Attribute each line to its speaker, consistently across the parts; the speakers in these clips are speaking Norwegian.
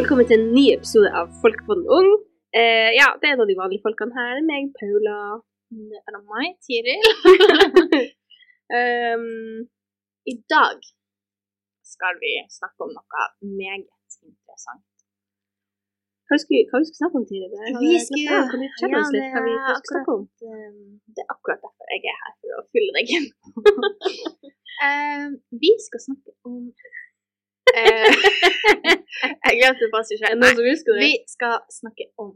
Speaker 1: Velkommen til en ny episode av Folk på den ung. Eh, ja, det er en av de vanlige folkene her. Meg, Paula.
Speaker 2: Det Mm, er da meg, Tiril.
Speaker 1: Um,
Speaker 2: I dag skal vi snakke om noe meget interessant.
Speaker 1: hva vi skulle hva vi skulle snakke om tidligere? Jeg
Speaker 2: Vi
Speaker 1: glemte
Speaker 2: skulle-
Speaker 1: det. Kan du fortelle oss
Speaker 2: ja,
Speaker 1: litt hva vi
Speaker 2: det er
Speaker 1: hva vi skulle snakke om?
Speaker 2: Um, Det er akkurat derfor jeg er her, for å fylle deg inn. Um, vi skal snakke om Eh, Jeg glemte faktisk
Speaker 1: Er
Speaker 2: ikke.
Speaker 1: det noen som husker det?
Speaker 2: Vi skal snakke om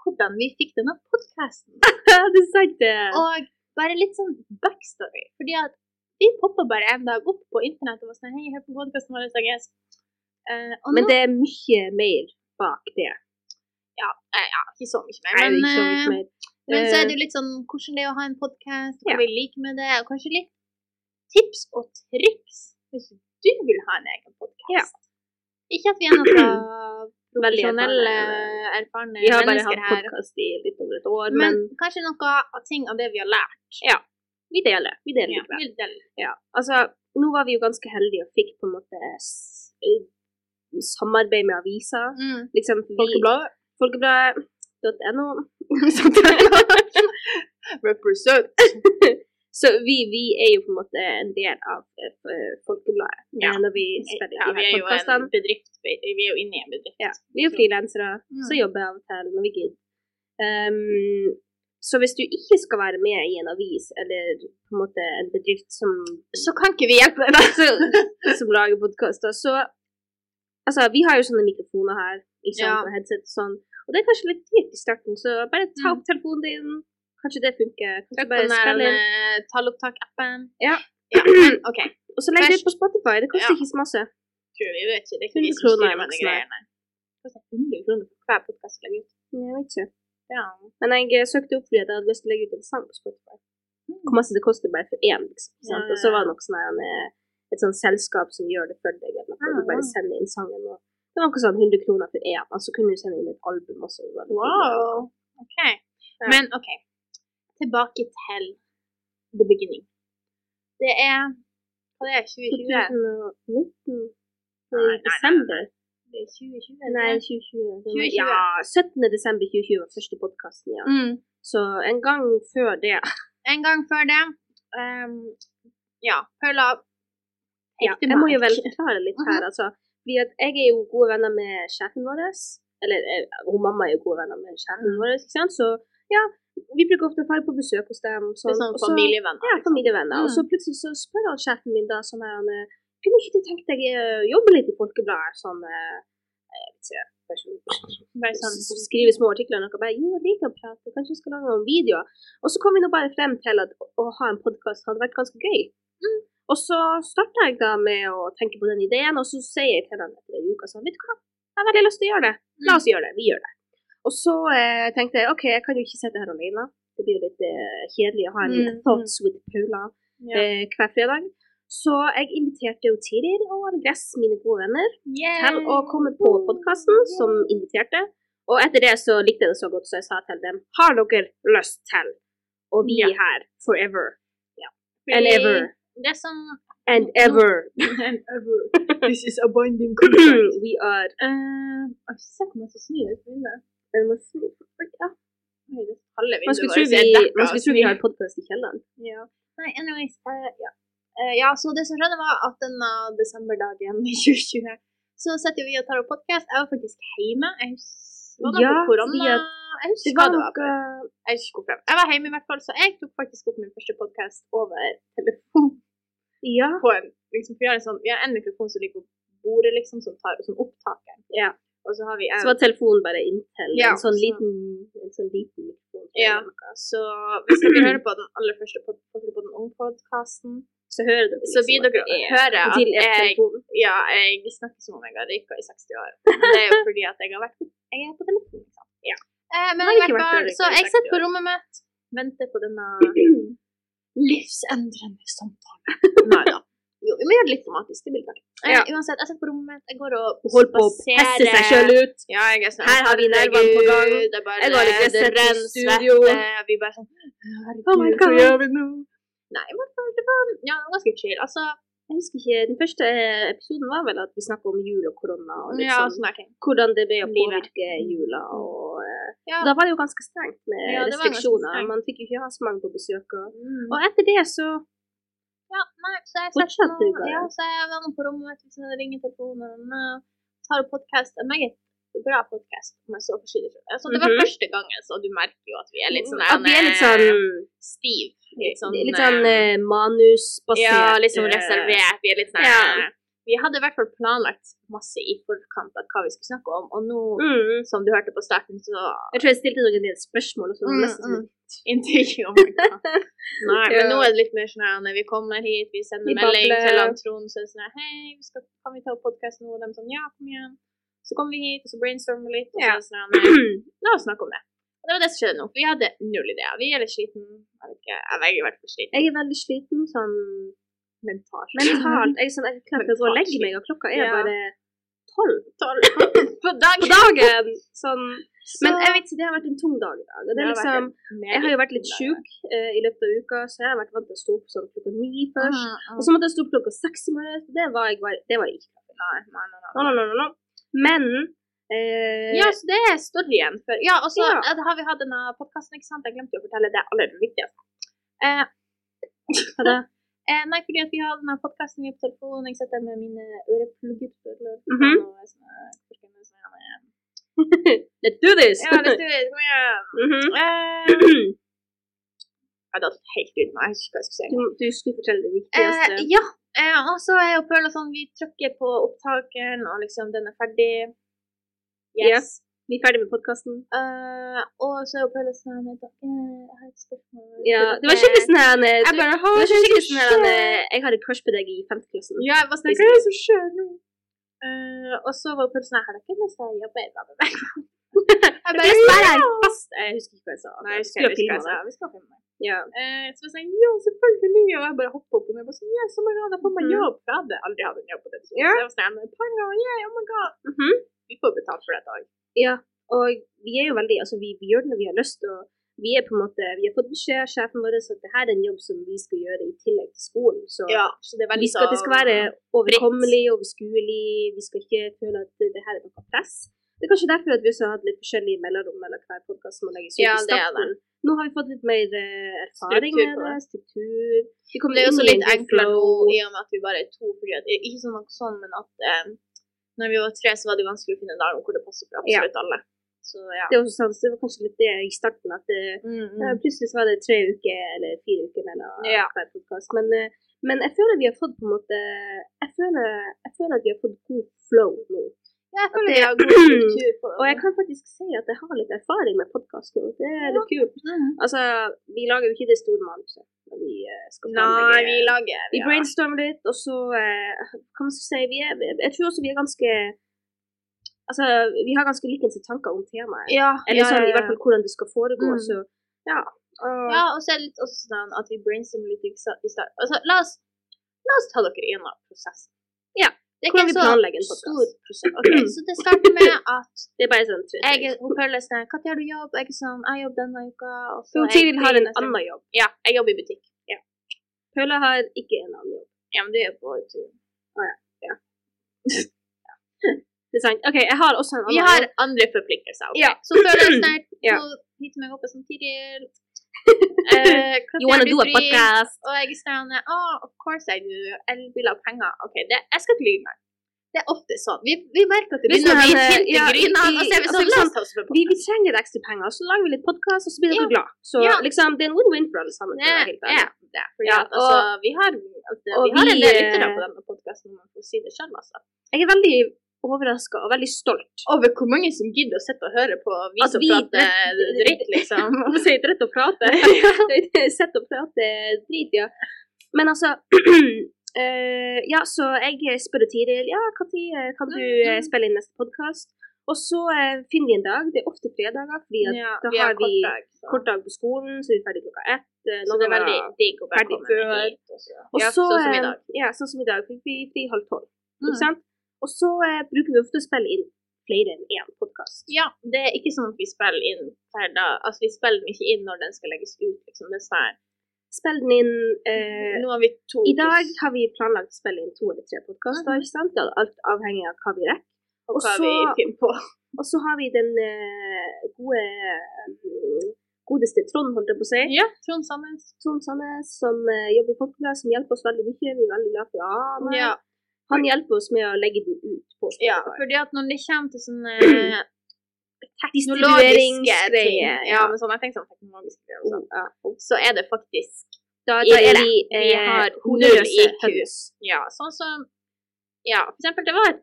Speaker 2: hvordan vi fikk denne podkasten.
Speaker 1: det sa ikke det.
Speaker 2: Og bare litt sånn backstory. Fordi at vi poppa bare en dag opp på internett og var sånn Hei, hør på podkasten vår, Agnes. Eh, og
Speaker 1: Men
Speaker 2: nå-
Speaker 1: det er mye mer bak det.
Speaker 2: eh, ja, ikke så mye mer.
Speaker 1: Nei,
Speaker 2: men,
Speaker 1: ikke så
Speaker 2: eh,
Speaker 1: mye mer.
Speaker 2: Men så er
Speaker 1: Eh,
Speaker 2: det jo litt sånn hvordan det er å ha en podkast, hva
Speaker 1: Ja.
Speaker 2: vi liker med det, og kanskje litt tips og triks hvis du vil ha en egen podkast.
Speaker 1: Ja.
Speaker 2: Ikke at vi er noe fra
Speaker 1: Veldig
Speaker 2: profesjonelle,
Speaker 1: erfarne.
Speaker 2: eh, erfarne
Speaker 1: Vi har bare
Speaker 2: mennesker
Speaker 1: hatt
Speaker 2: her,
Speaker 1: podkast i litt over et år,
Speaker 2: men,
Speaker 1: men,
Speaker 2: kanskje noe av ting av det vi har lært.
Speaker 1: vi deler. Vi deler
Speaker 2: Ja,
Speaker 1: likevel.
Speaker 2: vil dele.
Speaker 1: Ja, altså, nå var vi jo ganske heldige og fikk på en måte s eh, samarbeid med aviser.
Speaker 2: Mm.
Speaker 1: Liksom, vi-
Speaker 2: Folkebladet.
Speaker 1: Folkebladet.no. Sånt der.
Speaker 2: Represent.
Speaker 1: Så vi, vi er jo på en måte en del av eh, Folkebladet
Speaker 2: Ja.
Speaker 1: eh, når vi spiller
Speaker 2: Ja,
Speaker 1: de
Speaker 2: vi er
Speaker 1: her
Speaker 2: jo en
Speaker 1: podkastene.
Speaker 2: bedrift. Vi er jo inne i en bedrift.
Speaker 1: Ja, vi er jo frilansere,
Speaker 2: Mm.
Speaker 1: så jobber jeg av og til når vi gidder. Ehm, så hvis du ikke skal være med i en avis eller på en måte en bedrift som
Speaker 2: Så kan ikke vi hjelpe deg.
Speaker 1: så, som lager podkaster. Så altså, vi har jo sånne mikrofoner her, ikke sant,
Speaker 2: Ja.
Speaker 1: og headset og sånn. Og det er kanskje litt dyrt i starten, så bare ta opp
Speaker 2: Mm.
Speaker 1: telefonen din. Kanskje det funker. Kanskje
Speaker 2: Trykk på
Speaker 1: bare
Speaker 2: den der
Speaker 1: spille inn.
Speaker 2: eh, tallopptak-appen.
Speaker 1: Ja.
Speaker 2: ja. men, OK.
Speaker 1: Og så legg det ut på Spotify. Det koster
Speaker 2: Ja.
Speaker 1: ikke så masse.
Speaker 2: tror vi vet ikke. Det er ikke
Speaker 1: 100
Speaker 2: vi som
Speaker 1: kroner i
Speaker 2: styrer med de
Speaker 1: maksen her.
Speaker 2: greiene. Koster 100 kroner for hver podcast vi legger ut.
Speaker 1: Jeg vet ikke.
Speaker 2: Ja.
Speaker 1: Men jeg eh, søkte opp fordi at jeg hadde lyst til å legge ut en sang på Spotify. Hvor masse det koster bare for én, liksom. ikke sant?
Speaker 2: Mm. Ja,
Speaker 1: Og så
Speaker 2: ja,
Speaker 1: var det nok sånn her, eh, et sånt selskap som gjør det for deg. Eller noe.
Speaker 2: Ah,
Speaker 1: Du bare
Speaker 2: wow.
Speaker 1: sender inn sangen. og Det var noe sånn 100 kroner for én, og så kunne du sende inn et album også. Det var litt
Speaker 2: Wow. OK.
Speaker 1: Ja.
Speaker 2: Men OK. Tilbake til the beginning. Det er Hva det er 2020?
Speaker 1: 2019?
Speaker 2: Nei, nei, nei,
Speaker 1: Desember?
Speaker 2: Det er 2020. det er
Speaker 1: Nei,
Speaker 2: det.
Speaker 1: 2020.
Speaker 2: 2020.
Speaker 1: Ja, 17. desember 2020 var første podkasten, ja.
Speaker 2: Mm.
Speaker 1: Så en gang før det
Speaker 2: En gang før det ehm, Ja. Paula
Speaker 1: ja,
Speaker 2: Ekte
Speaker 1: Jeg må jo
Speaker 2: mark.
Speaker 1: vel forklare litt her,
Speaker 2: Mhm.
Speaker 1: altså. Fordi at jeg er jo gode venner med sjefen vår. Eller eh, hun mamma er jo gode venner med sjefen
Speaker 2: Mm.
Speaker 1: vår, ikke sant. Så ja, vi bruker ofte å dra på besøk hos dem. og
Speaker 2: Det er
Speaker 1: Sånn,
Speaker 2: sånn Mm.
Speaker 1: Og så-
Speaker 2: familievenner.
Speaker 1: Ja, familievenner. Og så plutselig så spør han sjefen min da sånn her han, eh, Kunne ikke du tenkt deg eh, å jobbe litt i Folkebladet? Sånn eh, jeg vet ikke, kanskje
Speaker 2: Bare sånn
Speaker 1: s- skrive små artikler og noe. Bare, jo, jeg liker å prate, kanskje jeg skal lage noen videoer. Og så kom vi nå bare frem til at å- å ha en podkast hadde vært ganske gøy.
Speaker 2: Mm.
Speaker 1: Og så starta jeg da med å tenke på den ideen, og så sier jeg til han etter en uke sånn, vet du hva, jeg har veldig lyst til å gjøre det.
Speaker 2: Mm.
Speaker 1: La oss gjøre det. Vi gjør det. Og så eh, tenkte jeg OK, jeg kan jo ikke sitte her alene. Det blir jo litt eh, kjedelig å ha en
Speaker 2: Mm,
Speaker 1: Thoughts with Paula
Speaker 2: Ja.
Speaker 1: eh, hver fredag. Så jeg inviterte jo Tiril og Gress, mine gode venner til å komme på podkasten som inviterte. Og etter det så likte jeg det så godt, så jeg sa til dem har dere lyst til å bli
Speaker 2: Ja.
Speaker 1: her forever
Speaker 2: Fordi
Speaker 1: and ever
Speaker 2: Det sånn- som
Speaker 1: and ever?
Speaker 2: and ever. This is a binding
Speaker 1: We are
Speaker 2: Eh, Jeg har ikke sett meg så snu det vinduet.
Speaker 1: Man skulle
Speaker 2: Oi, det halve
Speaker 1: tro
Speaker 2: vinduet
Speaker 1: vi,
Speaker 2: er dekket
Speaker 1: man
Speaker 2: av
Speaker 1: skulle tro vi
Speaker 2: snø.
Speaker 1: har podkast i kjelleren.
Speaker 2: Ja. Nei, anyways. eh, ja. Eh, ja, så det som skjedde var at denne desemberdagen i 2020, så setter vi og tar opp podcast. Jeg var faktisk hjemme. Jeg husker, var det
Speaker 1: Ja,
Speaker 2: på korona?
Speaker 1: fordi at
Speaker 2: Jeg husker
Speaker 1: Det
Speaker 2: hva
Speaker 1: var
Speaker 2: det var. eh,
Speaker 1: noe
Speaker 2: Jeg husker hvorfor. Jeg var hjemme i hvert fall, så jeg tok faktisk opp min første podcast over telefon.
Speaker 1: Ja.
Speaker 2: på en, liksom, for vi, har en sånn, vi har en mikrofon som ligger på bordet, liksom, som tar som opptaker.
Speaker 1: Ja.
Speaker 2: Og så har vi en
Speaker 1: Så var telefonen bare inntil en
Speaker 2: Ja,
Speaker 1: sånn
Speaker 2: så-
Speaker 1: liten en sånn liten mikrofon.
Speaker 2: Ja. Så hvis dere hører på den aller første pod på den unge podkasten,
Speaker 1: Så hører dere
Speaker 2: så blir
Speaker 1: at
Speaker 2: dere
Speaker 1: det er-
Speaker 2: høre at
Speaker 1: til
Speaker 2: jeg,
Speaker 1: telefonen.
Speaker 2: ja, jeg snakker som om jeg har røyka i 60 år. Men Det er jo fordi at jeg har vært på, jeg er på telefon. Liksom.
Speaker 1: Ja.
Speaker 2: Eh, men
Speaker 1: Har
Speaker 2: i
Speaker 1: ikke
Speaker 2: hvert
Speaker 1: vært
Speaker 2: fall,
Speaker 1: røyka i
Speaker 2: så jeg
Speaker 1: 60
Speaker 2: sitter på
Speaker 1: år.
Speaker 2: rommet mitt, venter på denne livsendrende samtalen. Nei da. Jo, vi må gjøre det litt dramatisk. Det blir bra. Eh,
Speaker 1: Ja.
Speaker 2: Uansett, jeg sitter på rommet mitt, jeg går og
Speaker 1: Hold på å pesse seg sjøl ut.
Speaker 2: Ja, jeg er sånn
Speaker 1: Her har vi nervene
Speaker 2: herregud,
Speaker 1: på gang.
Speaker 2: Det er bare
Speaker 1: Jeg har ikke
Speaker 2: det
Speaker 1: sett i
Speaker 2: renner
Speaker 1: studio.
Speaker 2: svette. Vi bare sånn Herregud,
Speaker 1: Oh my God.
Speaker 2: vi nå? Nei, i hvert fall, det var ja, det var ganske chill. Altså,
Speaker 1: Jeg husker ikke, Den første eh, episoden var vel at vi snakka om jul og korona. og
Speaker 2: Ja,
Speaker 1: liksom,
Speaker 2: sånn der ting.
Speaker 1: Hvordan det ble å
Speaker 2: Livet. Mm.
Speaker 1: påvirke jula. og... eh,
Speaker 2: Ja.
Speaker 1: Da var det jo ganske strengt med
Speaker 2: Ja, det var ganske
Speaker 1: restriksjoner.
Speaker 2: strengt.
Speaker 1: Man fikk jo ikke ha så mange på besøk. Og,
Speaker 2: Mm.
Speaker 1: og etter det så
Speaker 2: Ja, nei, så jeg
Speaker 1: Fortsatt
Speaker 2: setter meg-
Speaker 1: duger.
Speaker 2: Ja, så jeg var nå på rommet mitt, så jeg ringer telefonen og eh, tar opp podcast. En meget bra podcast, om jeg så for seg. Altså, det var
Speaker 1: Mhm.
Speaker 2: første gangen, så du merker jo at vi er litt sånn
Speaker 1: At vi er litt sånn,
Speaker 2: stiv. Litt sånn,
Speaker 1: litt sånn
Speaker 2: eh,
Speaker 1: eh, manusbasert
Speaker 2: Ja, litt sånn
Speaker 1: eh,
Speaker 2: reservert. Vi er litt sånn
Speaker 1: Ja.
Speaker 2: Vi hadde i hvert fall planlagt masse i forkant av hva vi skulle snakke om, og nå,
Speaker 1: Mm.
Speaker 2: som du hørte på starten, så
Speaker 1: Jeg tror jeg stilte dere en del spørsmål. Og sånn,
Speaker 2: Mm,
Speaker 1: nesten sånn,
Speaker 2: Intrigue, oh my god. Nei, men
Speaker 1: Ja.
Speaker 2: nå er det litt mer sånn her, når vi kommer hit, vi sender
Speaker 1: Vi
Speaker 2: melding
Speaker 1: babler.
Speaker 2: til han Trond, så er det sånn her, hei, vi skal, kan vi ta opp podcast nå? Og de sånn, ja, kom igjen. Så kommer vi hit, og så brainstormer vi litt, og så
Speaker 1: Ja.
Speaker 2: er det sånn her, «Nei, la oss snakke om det. Og det var det som skjedde nå, for vi hadde null ideer. Vi er litt sliten, jeg vet ikke, jeg er i hvert fall sliten.
Speaker 1: Jeg er veldig sliten sånn
Speaker 2: Mentalt.
Speaker 1: mentalt. Jeg er sånn, jeg klarer ikke å gå og legge meg, og klokka er
Speaker 2: Ja.
Speaker 1: bare tolv
Speaker 2: På dagen.
Speaker 1: på dagen. Sånn. Men
Speaker 2: Så-
Speaker 1: jeg vet ikke, det har vært en tung dag i dag. Og det er
Speaker 2: Det har vært
Speaker 1: liksom, jeg har jo vært litt sjuk eh, i løpet av uka, så jeg har vært vant til å stå opp sånn klokka ni først.
Speaker 2: Mm,
Speaker 1: Og så måtte jeg stå opp klokka seks i morges. og Det var jeg, bare- det var jeg ikke.
Speaker 2: Nei, nei, nei, nei.
Speaker 1: No, no, no, no, no. Men eh,
Speaker 2: Ja, så det er storyen. For, ja, og så
Speaker 1: Ja.
Speaker 2: eh, har vi hatt denne podkasten, ikke sant. Jeg glemte jo å fortelle det aller viktigste. Eh,
Speaker 1: hva da?
Speaker 2: eh, nei, fordi at vi har denne podkasten på telefonen. Jeg sitter med mine øreplugger på telefonen,
Speaker 1: Mhm.
Speaker 2: og jeg sånn, eh, hvordan er det som er med-
Speaker 1: Let's do this!
Speaker 2: Ja, hvis du kom igjen.
Speaker 1: Mhm.
Speaker 2: Eh, jeg datt helt ut nå. Jeg husker ikke hva jeg skulle si.
Speaker 1: du, du skulle fortelle det viktigste.
Speaker 2: Eh, ja. Eh, og så er jo Pøla sånn Vi trykker på opptakeren, og liksom, den er ferdig. Yes.
Speaker 1: Yes. Vi er ferdig med podkasten.
Speaker 2: Eh, og så er jo Pøla sånn eh, dere, Jeg har et spørsmål.
Speaker 1: Ja,
Speaker 2: til
Speaker 1: det var
Speaker 2: dere.»
Speaker 1: skikkelig sånn her eh,
Speaker 2: Jeg
Speaker 1: du-
Speaker 2: bare
Speaker 1: Det
Speaker 2: har
Speaker 1: var skikkelig sånn her eh, Jeg hadde crush på deg i femteklassen.
Speaker 2: Ja, jeg bare sånn, hva er det som skjer nå? Eh, og så var Pøl sånn, har dere lyst til å jobbe i dag med meg? Jeg
Speaker 1: Jeg sperrer
Speaker 2: ja!
Speaker 1: deg fast. Jeg husker ikke hva jeg sa.
Speaker 2: Nei, vi
Speaker 1: skulle
Speaker 2: skal, vi skal,
Speaker 1: filme det.
Speaker 2: vi skal filme det.
Speaker 1: Ja.
Speaker 2: Eh, så jeg sånn, ja, selvfølgelig. Og jeg bare hoppet opp og ned. Jeg bare sånn, ja, så mange ganger, jeg får meg
Speaker 1: Mhm.
Speaker 2: jobb. For jeg hadde aldri hatt en jobb på det. tidspunktet.
Speaker 1: Ja.
Speaker 2: Det var sånn, penger, yeah, oh my god.
Speaker 1: Mhm.
Speaker 2: Vi får betalt for dette også.
Speaker 1: Ja, og vi er jo veldig, altså vi, vi gjør det når vi har lyst, og vi er på en måte, vi har fått beskjed av sjefen vår at det her er en jobb som vi skal gjøre i tillegg til skolen, så
Speaker 2: Ja, så det er
Speaker 1: vi
Speaker 2: veldig sånn
Speaker 1: skal, det skal være
Speaker 2: fritt.
Speaker 1: overkommelig, overskuelig, vi skal ikke føle at det- det her er noe press. Det er kanskje derfor at vi også har hatt litt forskjellige mellomrom mellom hver podcast som må legges ut
Speaker 2: Ja,
Speaker 1: i
Speaker 2: det er det.
Speaker 1: starten. Nå har vi fått litt mer eh, erfaring
Speaker 2: Struktur
Speaker 1: med
Speaker 2: på det.
Speaker 1: det, struktur. Vi kommer
Speaker 2: Det er jo
Speaker 1: inn
Speaker 2: også
Speaker 1: i en
Speaker 2: litt
Speaker 1: god
Speaker 2: enklere
Speaker 1: Mm,
Speaker 2: nå
Speaker 1: flow.
Speaker 2: i og med at vi bare er to. Fordi at, ikke sånn nok sånn, men at eh, når vi var tre, så var det vanskelig å finne en dag hvor det passer for
Speaker 1: Ja.
Speaker 2: absolutt alle. Så ja.
Speaker 1: Det er også sant, så det var kanskje litt det i starten, at eh, det,
Speaker 2: Mm,
Speaker 1: Ja,
Speaker 2: mm.
Speaker 1: Plutselig så var det tre uker eller fire uker mellom
Speaker 2: Ja.
Speaker 1: hver podkast. Men, eh, men jeg føler vi har fått på en måte jeg føler, jeg føler at vi har fått god flow nå.
Speaker 2: Ja, jeg føler
Speaker 1: det-
Speaker 2: vi har god struktur på det.
Speaker 1: Og jeg kan faktisk si at jeg har litt erfaring med podkast nå. Det er litt kult.
Speaker 2: Mm.
Speaker 1: Altså, vi lager jo ikke det store manuset når vi eh, skal
Speaker 2: Nei, vi lager
Speaker 1: Vi brainstormer litt, og så eh, Hva man skal si vi er, Jeg tror også vi er ganske Altså, vi har ganske likens tanker om temaet.
Speaker 2: Ja,
Speaker 1: Eller
Speaker 2: ja,
Speaker 1: sånn
Speaker 2: ja,
Speaker 1: i hvert fall hvordan det skal foregå.
Speaker 2: Mm.
Speaker 1: Så ja. Og-
Speaker 2: Ja, og så er det litt også sånn at vi brainstormer litt ikke sant, i starten. Altså, la oss, la oss ta dere gjennom prosessen.
Speaker 1: Ja,
Speaker 2: Det er
Speaker 1: hvordan
Speaker 2: ikke
Speaker 1: vi
Speaker 2: så
Speaker 1: planlegger en podcast. Mm.
Speaker 2: stor prosess. Ok, så det starter med at
Speaker 1: Det er bare sånn tre
Speaker 2: jeg, er- hun føler sånn, hva har du jobb? Jeg er sånn, jeg jobber denne uka. Og så
Speaker 1: Hun
Speaker 2: er jeg
Speaker 1: Tivil har
Speaker 2: fri
Speaker 1: en
Speaker 2: neste uke.
Speaker 1: annen jobb.
Speaker 2: Ja, jeg jobber i butikk.
Speaker 1: Pøla har ikke en annen jobb.
Speaker 2: Ja, men du er på tur.
Speaker 1: Det er sant. OK, jeg har også en annen
Speaker 2: Vi har
Speaker 1: jobb.
Speaker 2: andre forpliktelser. ok?
Speaker 1: Ja.
Speaker 2: Så føler jeg sånn, snart
Speaker 1: Ja.
Speaker 2: Hun hitter meg opp og sånn, Tiril. eh, hva
Speaker 1: You wanna
Speaker 2: gjør
Speaker 1: do a
Speaker 2: fri?
Speaker 1: podcast?
Speaker 2: Og jeg er sånn oh, Of course I do. Elbiler og penger. OK, det, jeg skal ikke lyve meg. Det er ofte sånn. Vi, vi merker at det
Speaker 1: Hvis
Speaker 2: begynner å bli
Speaker 1: man, eh,
Speaker 2: tynt i
Speaker 1: ja,
Speaker 2: grynene,
Speaker 1: i-
Speaker 2: og så er vi
Speaker 1: altså,
Speaker 2: sånn
Speaker 1: ikke
Speaker 2: La
Speaker 1: sant,
Speaker 2: oss ta oss for
Speaker 1: Vi, vi trenger litt ekstra penger, og så lager vi litt podkast, og så blir dere
Speaker 2: Ja.
Speaker 1: glad. Så
Speaker 2: Ja.
Speaker 1: liksom, det er en win-win for alle sammen. for å være helt
Speaker 2: podcasten. Det
Speaker 1: ærlig.
Speaker 2: er det. Fordi
Speaker 1: Ja,
Speaker 2: at, altså,
Speaker 1: og-
Speaker 2: vi har, altså,
Speaker 1: og
Speaker 2: vi har en
Speaker 1: vi,
Speaker 2: del lyttere
Speaker 1: eh,
Speaker 2: på denne podkasten, om man får si det sjøl, altså.
Speaker 1: Jeg er veldig overraska og veldig stolt.
Speaker 2: Over hvor mange som gidder å sitte og høre på Altså, vi
Speaker 1: At
Speaker 2: som
Speaker 1: vi-
Speaker 2: prater dritt, liksom.
Speaker 1: Hvorfor sier jeg ikke rett å prate? Sett og prate drit, ja. Men altså eh, Ja, så jeg spør Tiril ja, når kan du eh,
Speaker 2: Mm-hmm.
Speaker 1: spille inn neste podkast. Og så eh, finner vi en dag. Det er ofte fredager, fordi at
Speaker 2: Ja,
Speaker 1: da
Speaker 2: vi har
Speaker 1: har vi
Speaker 2: kortdag, så.
Speaker 1: kort dag på skolen, så er vi ferdig klokka ett. eh,
Speaker 2: så
Speaker 1: noen
Speaker 2: det er
Speaker 1: ganger-
Speaker 2: veldig digg å bare
Speaker 1: ferdig
Speaker 2: komme
Speaker 1: før.
Speaker 2: hit. Og så,
Speaker 1: Og
Speaker 2: ja,
Speaker 1: så,
Speaker 2: sånn som i
Speaker 1: eh,
Speaker 2: dag.
Speaker 1: Ja, sånn som i dag. Fikk vi fri halv tolv.
Speaker 2: Mm.
Speaker 1: Ikke sant? Og så eh, bruker vi ofte å spille inn flere enn én podkast.
Speaker 2: Ja, det er ikke sånn at vi spiller inn hver dag. Altså, vi spiller den ikke inn når den skal legges ut, liksom. Det er sånn her
Speaker 1: spille den inn eh,
Speaker 2: Nå har vi to.
Speaker 1: I dag har vi planlagt å spille inn to eller tre podkaster, ikke sant? Alt avhengig av hva vi rekker.
Speaker 2: og så har
Speaker 1: og
Speaker 2: vi
Speaker 1: så-
Speaker 2: Pim på.
Speaker 1: Og så har vi den eh, gode mm, godeste Trond, holdt jeg på å si.
Speaker 2: Ja, Trond Sandnes.
Speaker 1: Trond Sandnes, som eh, jobber i Folkebladet, som hjelper oss veldig mye. Vi er veldig glad for å ha ham. her.
Speaker 2: Ja,
Speaker 1: Han hjelper oss med å legge den ut på
Speaker 2: ja,
Speaker 1: Spotify.
Speaker 2: fordi at når det kommer til sånne teknologiske ting
Speaker 1: Distribueringsgreier,
Speaker 2: Ja, men sånn, jeg tenker sånn teknologiske greier og sånn. Så er det faktisk
Speaker 1: Da,
Speaker 2: I
Speaker 1: da er vi,
Speaker 2: Vi
Speaker 1: eh,
Speaker 2: har null
Speaker 1: hodeløse
Speaker 2: IQ.
Speaker 1: høns.
Speaker 2: Ja, sånn som Ja, for eksempel, det var et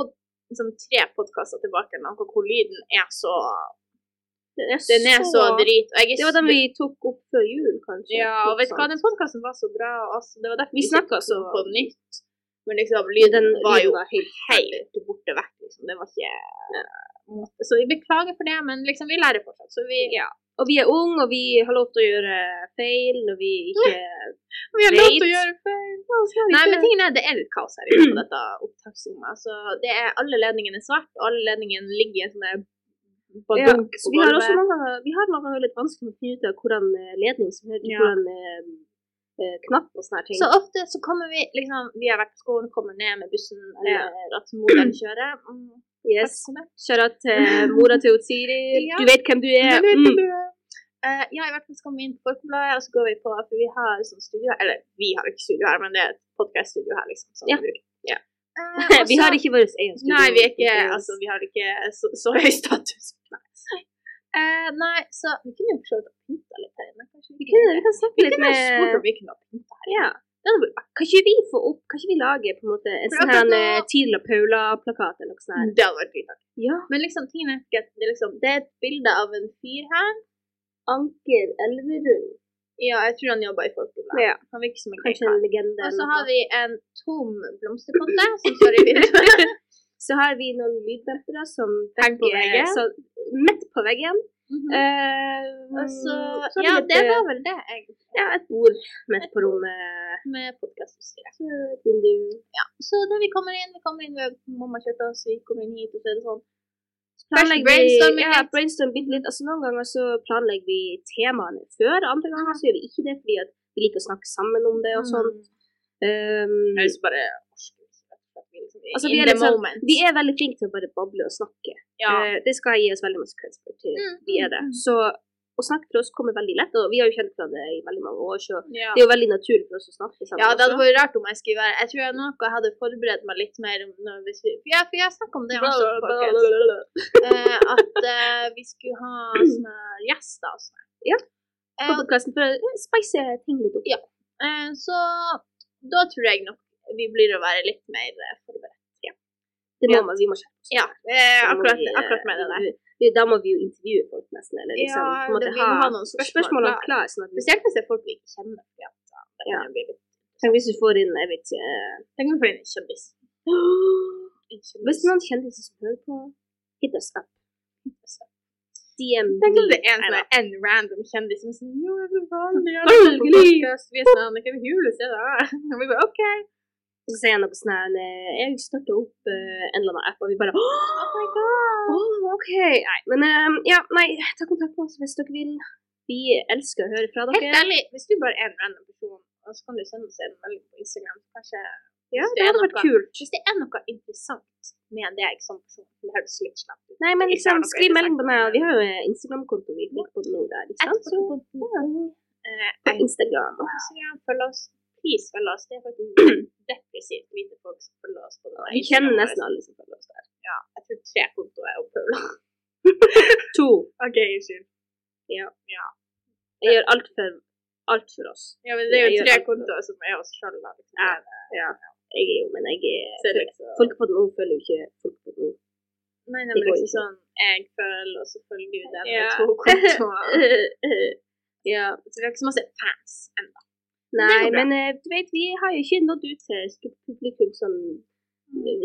Speaker 2: pod, sånn tre podkaster tilbake nå, hvor hvor lyden er så
Speaker 1: Den er,
Speaker 2: Den er så drit. Og jeg er
Speaker 1: Det var den
Speaker 2: så-
Speaker 1: vi tok opp før jul, kanskje. Sånn.
Speaker 2: Ja, og
Speaker 1: Noe
Speaker 2: vet du hva,
Speaker 1: sånt.
Speaker 2: den podkasten var så bra. og Altså, det var derfor
Speaker 1: Vi snakket
Speaker 2: tok den
Speaker 1: så-
Speaker 2: på nytt. Men liksom, lyden
Speaker 1: Den
Speaker 2: var jo
Speaker 1: lyden var helt
Speaker 2: helt borte vekk. Liksom. Det var ikke måte. Så vi beklager for det, men liksom, vi lærer fortsatt. Så vi,
Speaker 1: Og vi er unge, og vi har lov til å gjøre feil når vi ikke
Speaker 2: vi har lov til å
Speaker 1: Late.
Speaker 2: gjøre feil. Nei,
Speaker 1: Nei,
Speaker 2: men tingen er, det er litt kaos her ute på dette opptaksrommet. Så det er, alle ledningene er svart, og alle ledningene ligger i en sånn der
Speaker 1: Ja,
Speaker 2: badunk
Speaker 1: så
Speaker 2: på
Speaker 1: vi har også
Speaker 2: gulvet.
Speaker 1: noen ganger, vi har noen ganger litt vanskelig med å finne ut av hvordan eh, ledning som hører til
Speaker 2: Ja.
Speaker 1: hvordan eh, eh, knapp og sånne her ting.
Speaker 2: Så ofte så kommer vi liksom, vi har vært på skolen, kommer ned med bussen, eller
Speaker 1: Ja.
Speaker 2: at moderen kjører. Mm,
Speaker 1: yes. Kjører til mora til Siri.
Speaker 2: Ja.
Speaker 1: Du vet hvem du er.
Speaker 2: Ja,
Speaker 1: Mm.
Speaker 2: Eh, ja, i hvert fall så kommer vi inn på Folkebladet, og så går vi på For vi har sånn studio her. Eller vi har ikke studio her, men det er et podkaststudio her, liksom. Som
Speaker 1: Ja.
Speaker 2: vi bruker. Eh, og
Speaker 1: vi
Speaker 2: så-
Speaker 1: har ikke vår egen studio.
Speaker 2: Nei, vi er ikke Altså, vi har ikke så, så høy status. Nei. Eh, nei, så vi kunne jo prøvd å pynte litt her inne. Kanskje
Speaker 1: vi kunne, vi kan
Speaker 2: vi
Speaker 1: snakke litt
Speaker 2: kunne ha spurt om
Speaker 1: med
Speaker 2: vi kunne ha pynta her.
Speaker 1: ja. Det hadde vært artig. Kan ikke vi få opp, kan ikke vi lage på en måte en
Speaker 2: For
Speaker 1: sånn
Speaker 2: akkurat
Speaker 1: her
Speaker 2: nå- Mm.
Speaker 1: eh, Tidel og Paula-plakat eller noe sånt? her?
Speaker 2: Det hadde vært fint.
Speaker 1: Ja.
Speaker 2: Men liksom, tingen er ikke at det, er liksom, det er et bilde av en fyr her.
Speaker 1: Anker Elverum.
Speaker 2: Ja, jeg tror han jobber i Folkebladet.
Speaker 1: Ja.
Speaker 2: Han virker som en grei
Speaker 1: Kanskje
Speaker 2: kar.
Speaker 1: en legende.
Speaker 2: Og så
Speaker 1: eller
Speaker 2: har
Speaker 1: noe.
Speaker 2: vi en tom blomsterpotte som står i vinduet.
Speaker 1: så har vi noen lyddempere som
Speaker 2: Hengt på
Speaker 1: dekker-
Speaker 2: veggen.
Speaker 1: så- Midt på veggen.
Speaker 2: Mhm.
Speaker 1: Eh,
Speaker 2: Og så,
Speaker 1: så har vi
Speaker 2: ja,
Speaker 1: et,
Speaker 2: det
Speaker 1: eh,
Speaker 2: var vel det, egentlig,
Speaker 1: ja, et bord midt på rommet.
Speaker 2: med podkastutstyret.
Speaker 1: Så et vindu.
Speaker 2: Så da vi kommer inn, vi kommer inn, ved- mamma kjørte oss, vi kommer inn hit, og så er det sånn
Speaker 1: Planlegger vi-
Speaker 2: brainstorming
Speaker 1: ja,
Speaker 2: litt.
Speaker 1: brainstorm bitte litt. Altså, noen ganger så planlegger vi temaene før, andre ganger så gjør vi ikke det fordi at vi liker å snakke sammen om det og sånn. Um,
Speaker 2: Mm. Jeg synes bare
Speaker 1: Altså, vi
Speaker 2: liksom In
Speaker 1: er
Speaker 2: the
Speaker 1: litt sånn-
Speaker 2: moment.
Speaker 1: vi er veldig flinke til å bare bable og snakke.
Speaker 2: ja.
Speaker 1: Eh, det skal jeg gi oss veldig masse kreds for. til.
Speaker 2: Mm,
Speaker 1: Vi er det.
Speaker 2: mm,
Speaker 1: Så å snakke til oss kommer veldig lett, og vi har jo kjent hverandre i veldig mange år, så
Speaker 2: Ja.
Speaker 1: det er altså. jo veldig naturlig for oss å snakke sammen.
Speaker 2: ja, det hadde
Speaker 1: også.
Speaker 2: vært rart om jeg skulle være Jeg tror jeg nok jeg hadde forberedt meg litt mer om når vi skulle Ja, for jeg snakket om det også, folkens. Eh, at eh, vi skulle ha sånne gjester og sånn.
Speaker 1: Ja. På
Speaker 2: Eh,
Speaker 1: podcasten for å spice ting litt opp.
Speaker 2: eh, så da tror jeg nok vi blir å være litt mer eh, forberedt.
Speaker 1: Det må
Speaker 2: Ja.
Speaker 1: man, vi må skjerpe oss.
Speaker 2: Ja, eh,
Speaker 1: Da må
Speaker 2: akkurat,
Speaker 1: vi, eh,
Speaker 2: akkurat med det der.
Speaker 1: vi- Da må vi jo intervjue folk nesten, eller liksom
Speaker 2: Ja,
Speaker 1: på en måte
Speaker 2: det- vi må ha noen spørsmål
Speaker 1: spørsmålene
Speaker 2: klar.
Speaker 1: klare. Sånn at hvis,
Speaker 2: Spesielt hvis det er folk vi ikke kjenner. fordi at, Ja, det kan
Speaker 1: Ja.
Speaker 2: jo bli litt
Speaker 1: tenk hvis du får inn, jeg vet ikke eh,
Speaker 2: Tenk om vi får inn en kjendis. En kjendis.
Speaker 1: Hvis det er noen kjendiser som hører på, hit us up. DM
Speaker 2: Tenk om det er en,
Speaker 1: Nei,
Speaker 2: sånn,
Speaker 1: da.
Speaker 2: en random kjendis som er sånn Jo, jeg vil vanlig gjøre det på
Speaker 1: Selvfølgelig!
Speaker 2: podcast. Vi er sånn Anniken Hule, se der. Og vi bare OK.
Speaker 1: Så sier jeg noe sånn her eh, Jeg starta opp eh, en eller annen app, og vi bare Åh,
Speaker 2: Oh my god.
Speaker 1: Åh, ok. Nei, men ehm, ja, nei, ta kontakt med oss hvis dere vil. Vi elsker å høre fra dere.
Speaker 2: Helt ærlig, hvis du bare er en random person, og så kan du sende oss en melding på Instagram, så kanskje
Speaker 1: ja,
Speaker 2: hvis
Speaker 1: det
Speaker 2: er
Speaker 1: hadde vært
Speaker 2: noe-
Speaker 1: kult.
Speaker 2: Hvis det er noe interessant med deg som person, det høres litt slemt ut.
Speaker 1: Nei, men
Speaker 2: Hvis det er
Speaker 1: liksom,
Speaker 2: noe
Speaker 1: skriv melding på meg.
Speaker 2: interessant.
Speaker 1: Vi har jo eh, Instagram-konto vi fikk på nå der, ikke sant? Så,
Speaker 2: Eh,
Speaker 1: på Instagram.
Speaker 2: Instagram, følg oss. Please følg oss. Det er faktisk depressivt lite folk som følger oss på det.
Speaker 1: Vi kjenner nesten alle som følger oss der.
Speaker 2: Ja, jeg tror tre kontoer er oppfølga.
Speaker 1: To.
Speaker 2: OK, unnskyld.
Speaker 1: Ja.
Speaker 2: Ja.
Speaker 1: Jeg gjør alt for, alt for oss.
Speaker 2: Ja, men det er
Speaker 1: Jeg
Speaker 2: jo
Speaker 1: gjør
Speaker 2: tre
Speaker 1: alt.
Speaker 2: kontoer som er oss liksom. sjøl.
Speaker 1: Ja. Jeg er jo, men jeg
Speaker 2: Så
Speaker 1: er
Speaker 2: liksom,
Speaker 1: Folk på nå føler jo ikke folk på nå.
Speaker 2: nei, nei,
Speaker 1: det
Speaker 2: men
Speaker 1: går
Speaker 2: liksom
Speaker 1: ikke.
Speaker 2: sånn Jeg følger, og så følger du den
Speaker 1: Ja.
Speaker 2: med to kontoer.
Speaker 1: Ja.
Speaker 2: Så vi har ikke så masse fans ennå.
Speaker 1: Nei,
Speaker 2: går bra.
Speaker 1: men eh, du vet, vi har jo ikke nådd ut til et stort publikum som,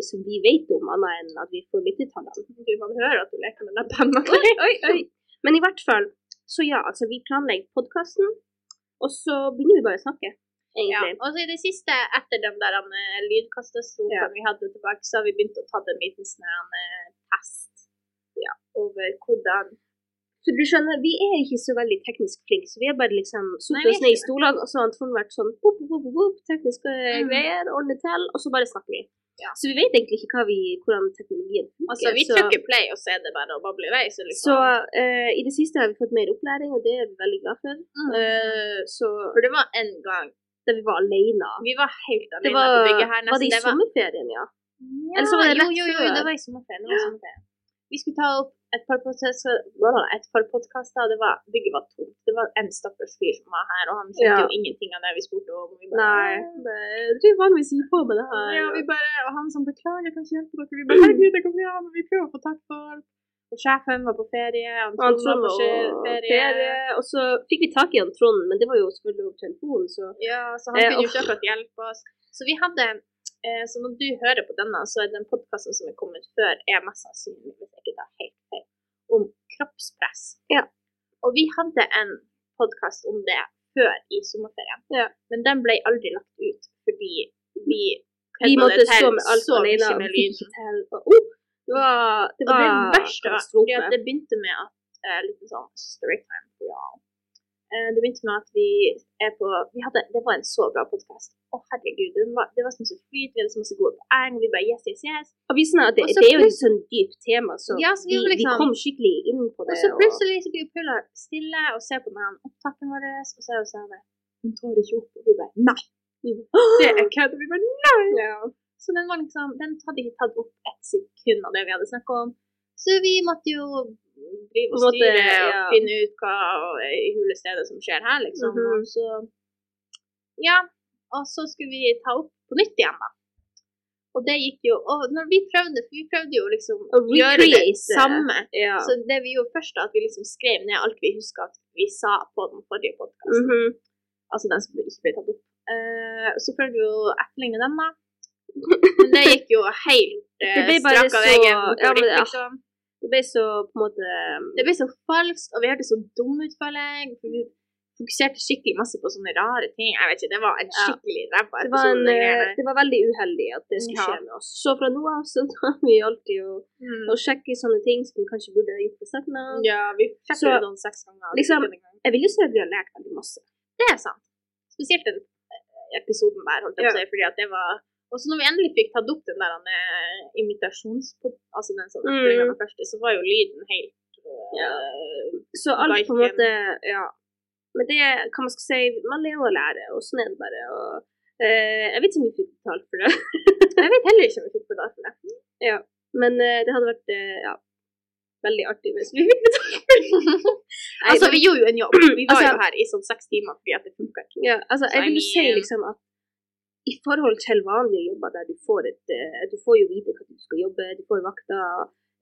Speaker 1: som vi vet om, annet enn at vi får lyttetallene.
Speaker 2: Mm. Du man hører at du leker med den pennen.
Speaker 1: Oi, oi, oi. Men i hvert fall, så ja, altså, vi planlegger podkasten, og så begynner vi bare å snakke,
Speaker 2: Ja.
Speaker 1: egentlig.
Speaker 2: Og så i det siste, etter den der eh, lydkatastrofen
Speaker 1: Ja.
Speaker 2: vi hadde tilbake, så har vi begynt å ta en liten sånn her, eh, test ja, over hvordan
Speaker 1: For du skjønner, vi er ikke så veldig teknisk flinke, så vi har bare liksom
Speaker 2: vi
Speaker 1: sittet
Speaker 2: er
Speaker 1: oss ned i
Speaker 2: ikke det.
Speaker 1: stolene, og så har Trond vært sånn pop, pop, pop, pop, tekniske eh,
Speaker 2: Mm.
Speaker 1: greier, ordne til, og så bare snakker vi.
Speaker 2: Ja.
Speaker 1: Så vi vet egentlig ikke hva vi, hvordan teknologien funker.
Speaker 2: Altså, vi
Speaker 1: så-
Speaker 2: trykker play, og så er det bare å bable i vei. Så liksom.
Speaker 1: Så eh, i det siste har vi fått mer opplæring, og det er vi veldig glad for.
Speaker 2: Mm.
Speaker 1: Eh, så
Speaker 2: For det var en gang
Speaker 1: da vi var alene.
Speaker 2: Vi var helt
Speaker 1: Det
Speaker 2: alene
Speaker 1: var,
Speaker 2: på bygget her.
Speaker 1: var det
Speaker 2: Nesten.
Speaker 1: i
Speaker 2: Det var,
Speaker 1: sommerferien, ja.
Speaker 2: ja,
Speaker 1: Eller så var det
Speaker 2: jo,
Speaker 1: rett
Speaker 2: jo, jo,
Speaker 1: før.
Speaker 2: det var i sommerferien. Det var i sommerferien. Vi skulle ta opp et par podcaster- blablabla, et par podkaster, og det var, bygget var tomt. Det var en stakkars fyr som var her, og han skjønte
Speaker 1: Ja.
Speaker 2: jo ingenting av det vi spurte om. Vi
Speaker 1: Nei, det driver vanligvis ikke på med det her.
Speaker 2: Ja, vi bare, og han som beklager, jeg kan ikke hjelpe dere. Vi bare, herregud, det kommer vi an, vi prøver å få tak for. Og sjefen var på ferie, han
Speaker 1: Og han
Speaker 2: Trond var
Speaker 1: Trond
Speaker 2: på
Speaker 1: og
Speaker 2: sj-
Speaker 1: ferie.
Speaker 2: ferie.
Speaker 1: Og så fikk vi tak i han Trond, men det var jo selvfølgelig over telefonen, så
Speaker 2: Ja, så han
Speaker 1: Eh,
Speaker 2: kunne jo
Speaker 1: uff.
Speaker 2: ikke akkurat hjelpe oss. Så vi hadde, eh, så når du hører på denne, så er den podcasten som er kommet før, er mest sannsynlig, hvis jeg ikke tar helt feil, om kroppspress.
Speaker 1: Ja.
Speaker 2: Og vi hadde en podcast om det før i sommerferien.
Speaker 1: Ja.
Speaker 2: Men den ble aldri lagt ut, fordi vi...
Speaker 1: vi
Speaker 2: kødda
Speaker 1: måtte
Speaker 2: det til
Speaker 1: stå med alt
Speaker 2: så
Speaker 1: alene.
Speaker 2: mye
Speaker 1: og
Speaker 2: med
Speaker 1: vi fikk
Speaker 2: lyden.
Speaker 1: ikke til. Og, oh, det var, det
Speaker 2: Og
Speaker 1: var
Speaker 2: Ah, det verste var fordi
Speaker 1: katastrofe.
Speaker 2: at det begynte med at eh, litt sånn storytime for y'all. Eh, det begynte med at vi er på vi hadde, Det var en så bra podkast. Å, herregud. Det var, det var så masse flyt, vi hadde så masse gode poeng. Vi bare yes, yes, yes.
Speaker 1: Og vi snakket- det,
Speaker 2: Og så
Speaker 1: det er jo et
Speaker 2: plutselig-
Speaker 1: sånn dypt tema, så
Speaker 2: Ja, så vi
Speaker 1: vi,
Speaker 2: var
Speaker 1: vi
Speaker 2: liksom-
Speaker 1: kom skikkelig inn på det.
Speaker 2: Og så plutselig så blir Pulla stille og ser på den opptakeren vår, og så er hun sånn Hun tar ikke opp. Og vi bare Nei! Vi bare, det er kødd. og Vi bare Nei! Så den var liksom Den hadde ikke tatt opp ett sekund av det vi hadde snakka om. Så vi måtte jo drive
Speaker 1: På
Speaker 2: og
Speaker 1: en måte,
Speaker 2: styre og
Speaker 1: ja.
Speaker 2: finne ut hva og- i hulestedet som skjer her, liksom.
Speaker 1: Mhm.
Speaker 2: Og så Ja. Og så skulle vi ta opp på nytt igjen, da. Og det gikk jo Og når vi prøvde, for vi prøvde jo liksom å
Speaker 1: Å
Speaker 2: gjøre det
Speaker 1: recreate.
Speaker 2: samme.
Speaker 1: ja.
Speaker 2: Så det vi gjorde først, da, at vi liksom skrev ned alt vi huska at vi sa på den forrige podkasten
Speaker 1: Mhm.
Speaker 2: altså den som ikke ble tatt opp. Eh, så prøvde vi å etterligne den, da. Men det gikk jo helt
Speaker 1: Det
Speaker 2: eh,
Speaker 1: ble bare
Speaker 2: strakk av
Speaker 1: så-
Speaker 2: veien.
Speaker 1: ja, men
Speaker 2: bortover dit,
Speaker 1: det-
Speaker 2: liksom.
Speaker 1: Det ble så på en måte
Speaker 2: Det ble så falskt, og vi hørtes så dumme ut, føler jeg. for Vi fokuserte skikkelig masse på sånne rare ting. Jeg vet ikke, Det var en
Speaker 1: Ja.
Speaker 2: skikkelig ræva
Speaker 1: det var, en,
Speaker 2: episode.
Speaker 1: eh,
Speaker 2: En,
Speaker 1: det var veldig uheldig at det skulle
Speaker 2: Ja.
Speaker 1: skje med oss. Så fra nå av så tar vi alltid å,
Speaker 2: mm.
Speaker 1: å sjekke sånne ting som vi kanskje burde ha gjort på setten av.
Speaker 2: Ja, vi sjekket
Speaker 1: Så-
Speaker 2: det noen seks ganger.
Speaker 1: liksom-
Speaker 2: det gikk en gang.
Speaker 1: Jeg vil jo si at vi har lært veldig masse.
Speaker 2: Det er sant. Spesielt den eh, episoden der, holdt jeg på å si. fordi at det var... Og så når vi endelig fikk tatt opp den der eh, imitasjons... Altså den som
Speaker 1: Mm.
Speaker 2: den første, så var jo lyden helt eh,
Speaker 1: Ja. Så alt på en
Speaker 2: Liken.
Speaker 1: måte Ja. Men det er hva man skal si Man lever og lærer, og sånn er det bare. Og, eh, jeg vet ikke om vi fikk betalt for det,
Speaker 2: Jeg vet heller ikke om vi fikk betalt for det.
Speaker 1: men eh, det hadde vært eh, ja, veldig artig hvis vi fikk Nei,
Speaker 2: altså,
Speaker 1: men-
Speaker 2: vi gjorde jo en jobb. Vi var
Speaker 1: Altså-
Speaker 2: jo her i sånn seks timer fordi at det funka ikke.
Speaker 1: Ja, altså,
Speaker 2: Så
Speaker 1: jeg vil
Speaker 2: jeg
Speaker 1: jo si
Speaker 2: mener-
Speaker 1: liksom at i forhold til vanlige jobber der du får et eh, Du får jo vite hva du skal jobbe, du får vakter,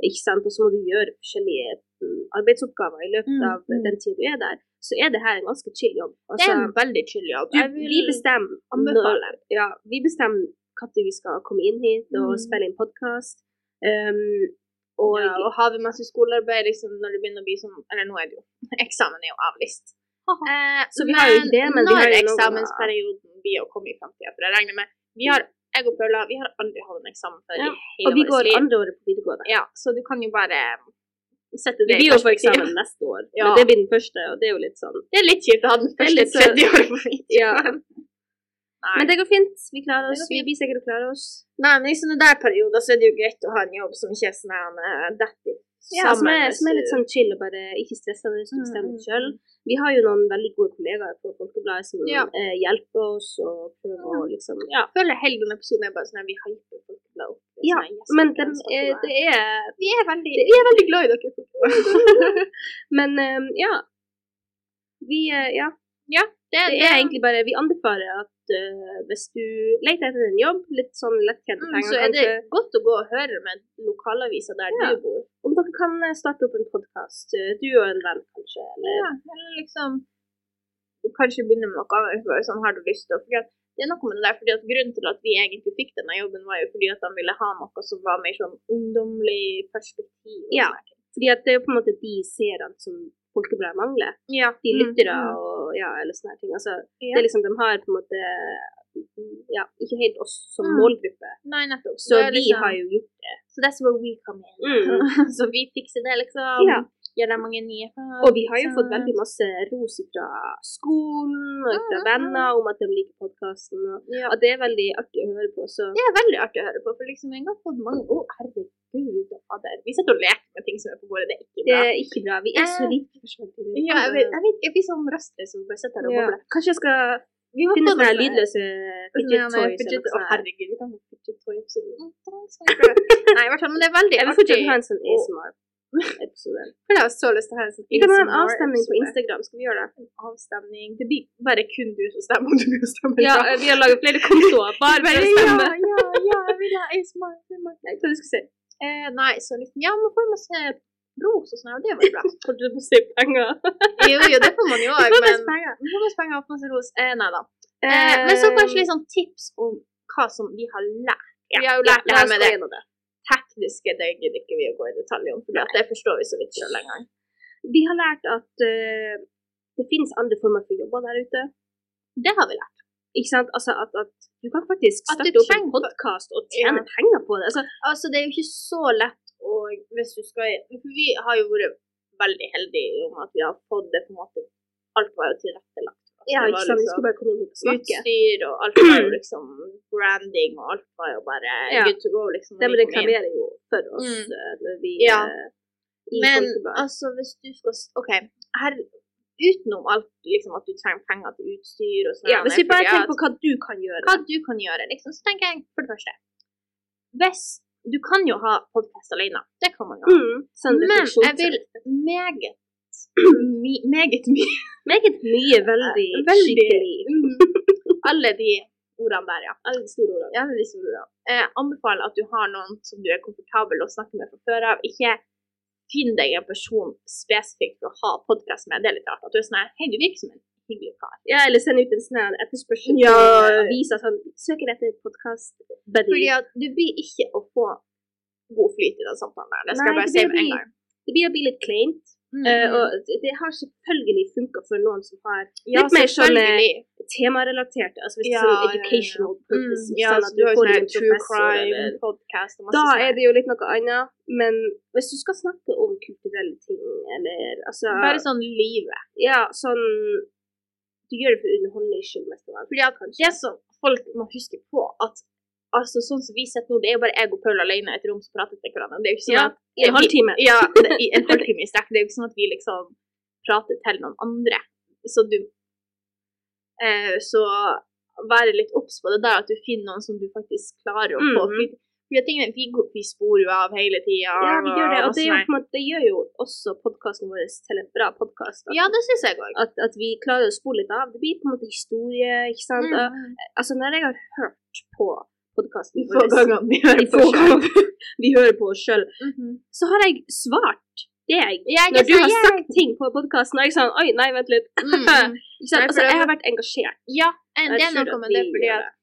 Speaker 1: ikke sant, og så må du gjøre forskjellige mm, arbeidsoppgaver i løpet
Speaker 2: Mm,
Speaker 1: av
Speaker 2: mm.
Speaker 1: den tida du er der, så er det her en ganske chill jobb.
Speaker 2: Det
Speaker 1: Altså,
Speaker 2: er en veldig chill jobb.
Speaker 1: du, Vi bestemmer når,
Speaker 2: anbefale.
Speaker 1: ja, vi bestemmer når vi skal komme inn hit og
Speaker 2: Mm.
Speaker 1: spille inn podkast. Um, og
Speaker 2: Og, ja, og har vi masse skolearbeid liksom, når det begynner å bli sånn Eller nå er det jo Eksamen er jo avlyst. Eh,
Speaker 1: Så vi har jo ikke det, men vi har
Speaker 2: når
Speaker 1: jo noe-
Speaker 2: eksamensperioden blir å komme i framtida For jeg regner med vi har, Jeg og Paula vi har aldri hatt en eksamen før
Speaker 1: Ja,
Speaker 2: i hele
Speaker 1: og vi
Speaker 2: vårt
Speaker 1: går
Speaker 2: liv.
Speaker 1: andre året på videregående.
Speaker 2: Ja, så du kan jo bare sette
Speaker 1: Vi
Speaker 2: det
Speaker 1: blir jo for
Speaker 2: perspektiv.
Speaker 1: eksamen neste år,
Speaker 2: Ja.
Speaker 1: men det blir den første, og det er jo litt sånn
Speaker 2: Det er litt kjipt å ha den
Speaker 1: er
Speaker 2: første
Speaker 1: litt så-
Speaker 2: tredje året på mitt.
Speaker 1: Ja.
Speaker 2: Nei.
Speaker 1: Men det går fint. Vi klarer
Speaker 2: Det
Speaker 1: oss.
Speaker 2: går
Speaker 1: Vi
Speaker 2: fint.
Speaker 1: blir sikkert å klare oss.
Speaker 2: Nei, men i sånne der perioder så er det jo greit å ha en jobb som ikke er sånn her eh, dette
Speaker 1: Ja, som, er,
Speaker 2: med
Speaker 1: som er litt
Speaker 2: sur-
Speaker 1: sånn chill og bare ikke stressa når du
Speaker 2: Mm,
Speaker 1: bestemmer
Speaker 2: mm,
Speaker 1: deg sjøl. Vi har jo noen veldig gode kollegaer på Folkebladet som
Speaker 2: Ja.
Speaker 1: eh, hjelper oss og prøver å liksom
Speaker 2: Ja, jeg føler hele denne episoden er bare sånn her, vi hyper folk til å opp.
Speaker 1: Ja,
Speaker 2: Sånn her, yes,
Speaker 1: Men
Speaker 2: folkens,
Speaker 1: dem, eh,
Speaker 2: folkens.
Speaker 1: det er
Speaker 2: vi er veldig, vi er veldig glad i dere.
Speaker 1: Men eh, ja. Vi eh, Ja.
Speaker 2: Det,
Speaker 1: Det er egentlig bare Vi anbefaler at eh, hvis du leter etter en jobb, litt sånn lettjente
Speaker 2: mm,
Speaker 1: penger,
Speaker 2: så er det
Speaker 1: kanskje
Speaker 2: godt å gå og høre med lokalaviser der
Speaker 1: Ja.
Speaker 2: du bor.
Speaker 1: Om dere kan eh, starte opp en podkast, du og en venn kanskje, eller
Speaker 2: Ja, eller liksom du kanskje begynne med noe annet. Bare sånn, har du lyst til å fordi at det er noe med det der, fordi at Grunnen til at vi egentlig fikk denne jobben, var jo fordi at de ville ha noe som var mer sånn ungdommelig perspektiv. og
Speaker 1: Ja.
Speaker 2: sånne ting.
Speaker 1: Fordi at det er jo på en måte de seerne som Folkebladet mangler.
Speaker 2: ja.
Speaker 1: de lyttere
Speaker 2: Mm, mm.
Speaker 1: og ja, eller sånne her ting. Altså,
Speaker 2: Ja.
Speaker 1: det er liksom, de har på en måte mm, ja, ikke helt oss som
Speaker 2: Mm.
Speaker 1: målgruppe.
Speaker 2: Nei, nettopp.
Speaker 1: Så
Speaker 2: det er
Speaker 1: vi
Speaker 2: liksom,
Speaker 1: har jo gjort
Speaker 2: So that's where we come in.
Speaker 1: Mm.
Speaker 2: så vi fikser det, liksom.
Speaker 1: Ja.
Speaker 2: gjør de mange nye fag.
Speaker 1: Og vi har jo
Speaker 2: så-
Speaker 1: fått veldig masse ros fra skolen og fra
Speaker 2: Mm, mm,
Speaker 1: venner om at de liker podkasten. Og
Speaker 2: ja.
Speaker 1: at det er veldig artig å høre på. Så
Speaker 2: Det er veldig artig å høre på, for liksom jeg har fått mange Å, herregud, fader. Vi sitter og leker med ting som er på bordet, det er ikke
Speaker 1: det
Speaker 2: bra.
Speaker 1: er ikke bra. Vi er så
Speaker 2: Eh,
Speaker 1: lite forskjellige.
Speaker 2: Ja, jeg, vet, jeg, vet, jeg blir sånn rastløs og bare sitter her og
Speaker 1: Ja.
Speaker 2: bobler.
Speaker 1: Kanskje jeg skal
Speaker 2: Vi må
Speaker 1: finne sånne
Speaker 2: få
Speaker 1: sånn her
Speaker 2: noe-
Speaker 1: lydløse fidget
Speaker 2: Sånn, ja,
Speaker 1: toys eller
Speaker 2: fidget-
Speaker 1: noe
Speaker 2: Å,
Speaker 1: sånt. her.
Speaker 2: herregud, vi kan ha fidget toy-episode. Mm, da skal vi prøve. Nei, i hvert fall, men det er veldig
Speaker 1: Jeg vil
Speaker 2: artig.
Speaker 1: fortsatt ha en sånn ASMR-episode.
Speaker 2: Jeg har så lyst til å ha en sånn
Speaker 1: Vi kan ha en
Speaker 2: ASMR
Speaker 1: avstemning på
Speaker 2: episode.
Speaker 1: Instagram. Skal vi gjøre det?
Speaker 2: Avstemning. Det blir bare kun du som stemmer om du vil stemme.
Speaker 1: Ja, eh, vi har laget flere kontoer bare for å stemme.
Speaker 2: Ja, ja, ja, jeg vil ha ASMR. Jeg trodde du skulle si. Eh, nei, så liksom, ja, man får masse ros og sånn, og det var jo bra.
Speaker 1: Kanskje du må si penger.
Speaker 2: Jo, jo, det får man jo
Speaker 1: Vi
Speaker 2: òg,
Speaker 1: får
Speaker 2: men
Speaker 1: mest penger.
Speaker 2: man får masse penger og masse ros. Eh, nei da. Eh, men så kanskje litt sånn tips om hva som vi har lært.
Speaker 1: Ja,
Speaker 2: vi har jo
Speaker 1: ja,
Speaker 2: lært det
Speaker 1: la
Speaker 2: her
Speaker 1: oss
Speaker 2: med
Speaker 1: gå
Speaker 2: det
Speaker 1: gjennom det.
Speaker 2: tekniske, det gidder ikke vi å gå i detalj om, for det forstår vi så vidt sjøl engang.
Speaker 1: Vi har lært at eh, det finnes andre former for jobber der ute.
Speaker 2: Det har vi lært.
Speaker 1: Ikke sant? Altså at, at du kan faktisk
Speaker 2: At du
Speaker 1: starte opp en
Speaker 2: trenger-
Speaker 1: podkast og tjene
Speaker 2: Ja.
Speaker 1: penger på det. Altså,
Speaker 2: Altså, det er jo ikke så lett å Hvis du skal for Vi har jo vært veldig heldige om at vi har fått det på en måte Alt var jo tilrettelagt.
Speaker 1: ja,
Speaker 2: det
Speaker 1: ikke
Speaker 2: var
Speaker 1: sant? Vi
Speaker 2: liksom
Speaker 1: skulle bare komme inn hit og snakke.
Speaker 2: Utstyr og alt var jo liksom branding og alt var jo bare
Speaker 1: Ja.
Speaker 2: good to go, liksom.
Speaker 1: De
Speaker 2: når vi kom inn.
Speaker 1: reklamerer jo for oss
Speaker 2: Mm.
Speaker 1: eh, når vi
Speaker 2: Ja.
Speaker 1: eh, i
Speaker 2: Men
Speaker 1: Folkebladet.
Speaker 2: altså, hvis du skal s- OK. Her, utenom alt liksom, at du trenger penger til utstyr og sånn
Speaker 1: ja, Hvis vi bare
Speaker 2: fordi
Speaker 1: tenker
Speaker 2: at-
Speaker 1: på hva du kan gjøre
Speaker 2: hva du kan gjøre, liksom, så tenker jeg for det første Hvis Du kan jo ha podkast alene. Det kan man jo. ha.
Speaker 1: mm, sånn
Speaker 2: Men jeg
Speaker 1: refleksjons-
Speaker 2: vil meget my, Meget mye
Speaker 1: Meget mye veldig,
Speaker 2: Veldig.
Speaker 1: skikkelig. Mm,
Speaker 2: Mm. Alle de ordene der, ja. Alle de store ordene. Ja, alle de store ordene. Jeg anbefaler at du har noen som du er komfortabel å snakke med fra før av. Ikke finn deg en person spesifikt for å ha podkast med. Det er litt rart. At du er sånn her Hei, du virker som en hyggelig kar.
Speaker 1: Ja, eller sende ut en sånn her etterspørsel
Speaker 2: Ja.
Speaker 1: til aviser sånn Søker etter podkast
Speaker 2: Fordi at du blir ikke å få god flyt i den samtalen der. Det Mm, skal
Speaker 1: Nei, det
Speaker 2: jeg bare si
Speaker 1: blir-
Speaker 2: med en gang.
Speaker 1: Det blir å bli litt kleint. Eh, og det har selvfølgelig funka for noen som har
Speaker 2: Ja,
Speaker 1: litt mer sånn, eh,
Speaker 2: selvfølgelig.
Speaker 1: temarelaterte altså hvis det
Speaker 2: Ja,
Speaker 1: er sånn
Speaker 2: ja, ja, ja.
Speaker 1: educational purpose,
Speaker 2: Mm,
Speaker 1: ikke
Speaker 2: ja,
Speaker 1: sant,
Speaker 2: så
Speaker 1: at
Speaker 2: du har jo
Speaker 1: får
Speaker 2: sånn
Speaker 1: inn
Speaker 2: her
Speaker 1: en
Speaker 2: true
Speaker 1: professor,
Speaker 2: crime,
Speaker 1: eller-
Speaker 2: podcast og masse
Speaker 1: Da
Speaker 2: sånn
Speaker 1: er
Speaker 2: her.
Speaker 1: det jo litt noe annet, men hvis du skal snakke om kulturelle ting, eller altså
Speaker 2: bare sånn livet.
Speaker 1: Ja, sånn Du gjør det for underholdningens skyld, mest av alt.
Speaker 2: Fordi at det som folk må huske på, at altså sånn som vi sitter nå, det er jo bare jeg og Paul alene i et rom som prater til hverandre. Det er jo ikke sånn
Speaker 1: Ja,
Speaker 2: at
Speaker 1: I en halvtime.
Speaker 2: Ja, det- i en halvtime i strekk. Det er jo ikke sånn at vi liksom prater til noen andre. Så du eh, Så være litt obs på det der at du finner noen som du faktisk klarer å få
Speaker 1: Mhm.
Speaker 2: flyt- Fordi at tingene, vi, går- vi sporer jo av hele tida.
Speaker 1: Ja, vi gjør det. Og det,
Speaker 2: sånn
Speaker 1: er jo, på en måte, det gjør jo også podkasten vår til en bra podkast. At,
Speaker 2: Ja, det syns jeg òg.
Speaker 1: at, at vi klarer å spole litt av. Det blir på en måte historie, ikke
Speaker 2: Mm,
Speaker 1: sant. Og, altså, når jeg har hørt på podkasten
Speaker 2: Få ganger vi hører
Speaker 1: de få gangene vi hører på oss sjøl,
Speaker 2: Mhm.
Speaker 1: så har jeg svart deg.
Speaker 2: Jeg
Speaker 1: Når du
Speaker 2: er så
Speaker 1: har
Speaker 2: jævlig-
Speaker 1: sagt ting på podkasten, er jeg sånn Oi, nei, vent litt.
Speaker 2: Mm.
Speaker 1: Ikke sant?
Speaker 2: Nei, for
Speaker 1: Altså,
Speaker 2: det-
Speaker 1: jeg har vært engasjert.
Speaker 2: Ja, en,
Speaker 1: Jeg
Speaker 2: det er
Speaker 1: tror
Speaker 2: noe
Speaker 1: at
Speaker 2: med det,
Speaker 1: vi
Speaker 2: fordi
Speaker 1: gjør
Speaker 2: at